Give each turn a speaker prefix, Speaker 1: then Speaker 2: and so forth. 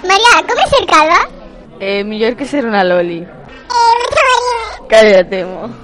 Speaker 1: María, ¿cómo ser calva?
Speaker 2: Eh, É mellor que ser unha loli.
Speaker 1: Eh,
Speaker 2: Cállate, mo.